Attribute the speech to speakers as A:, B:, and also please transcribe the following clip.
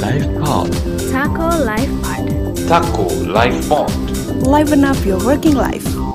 A: life pod.
B: Taco Life Pod.
C: Taco Life Pod.
D: Liven up your working life.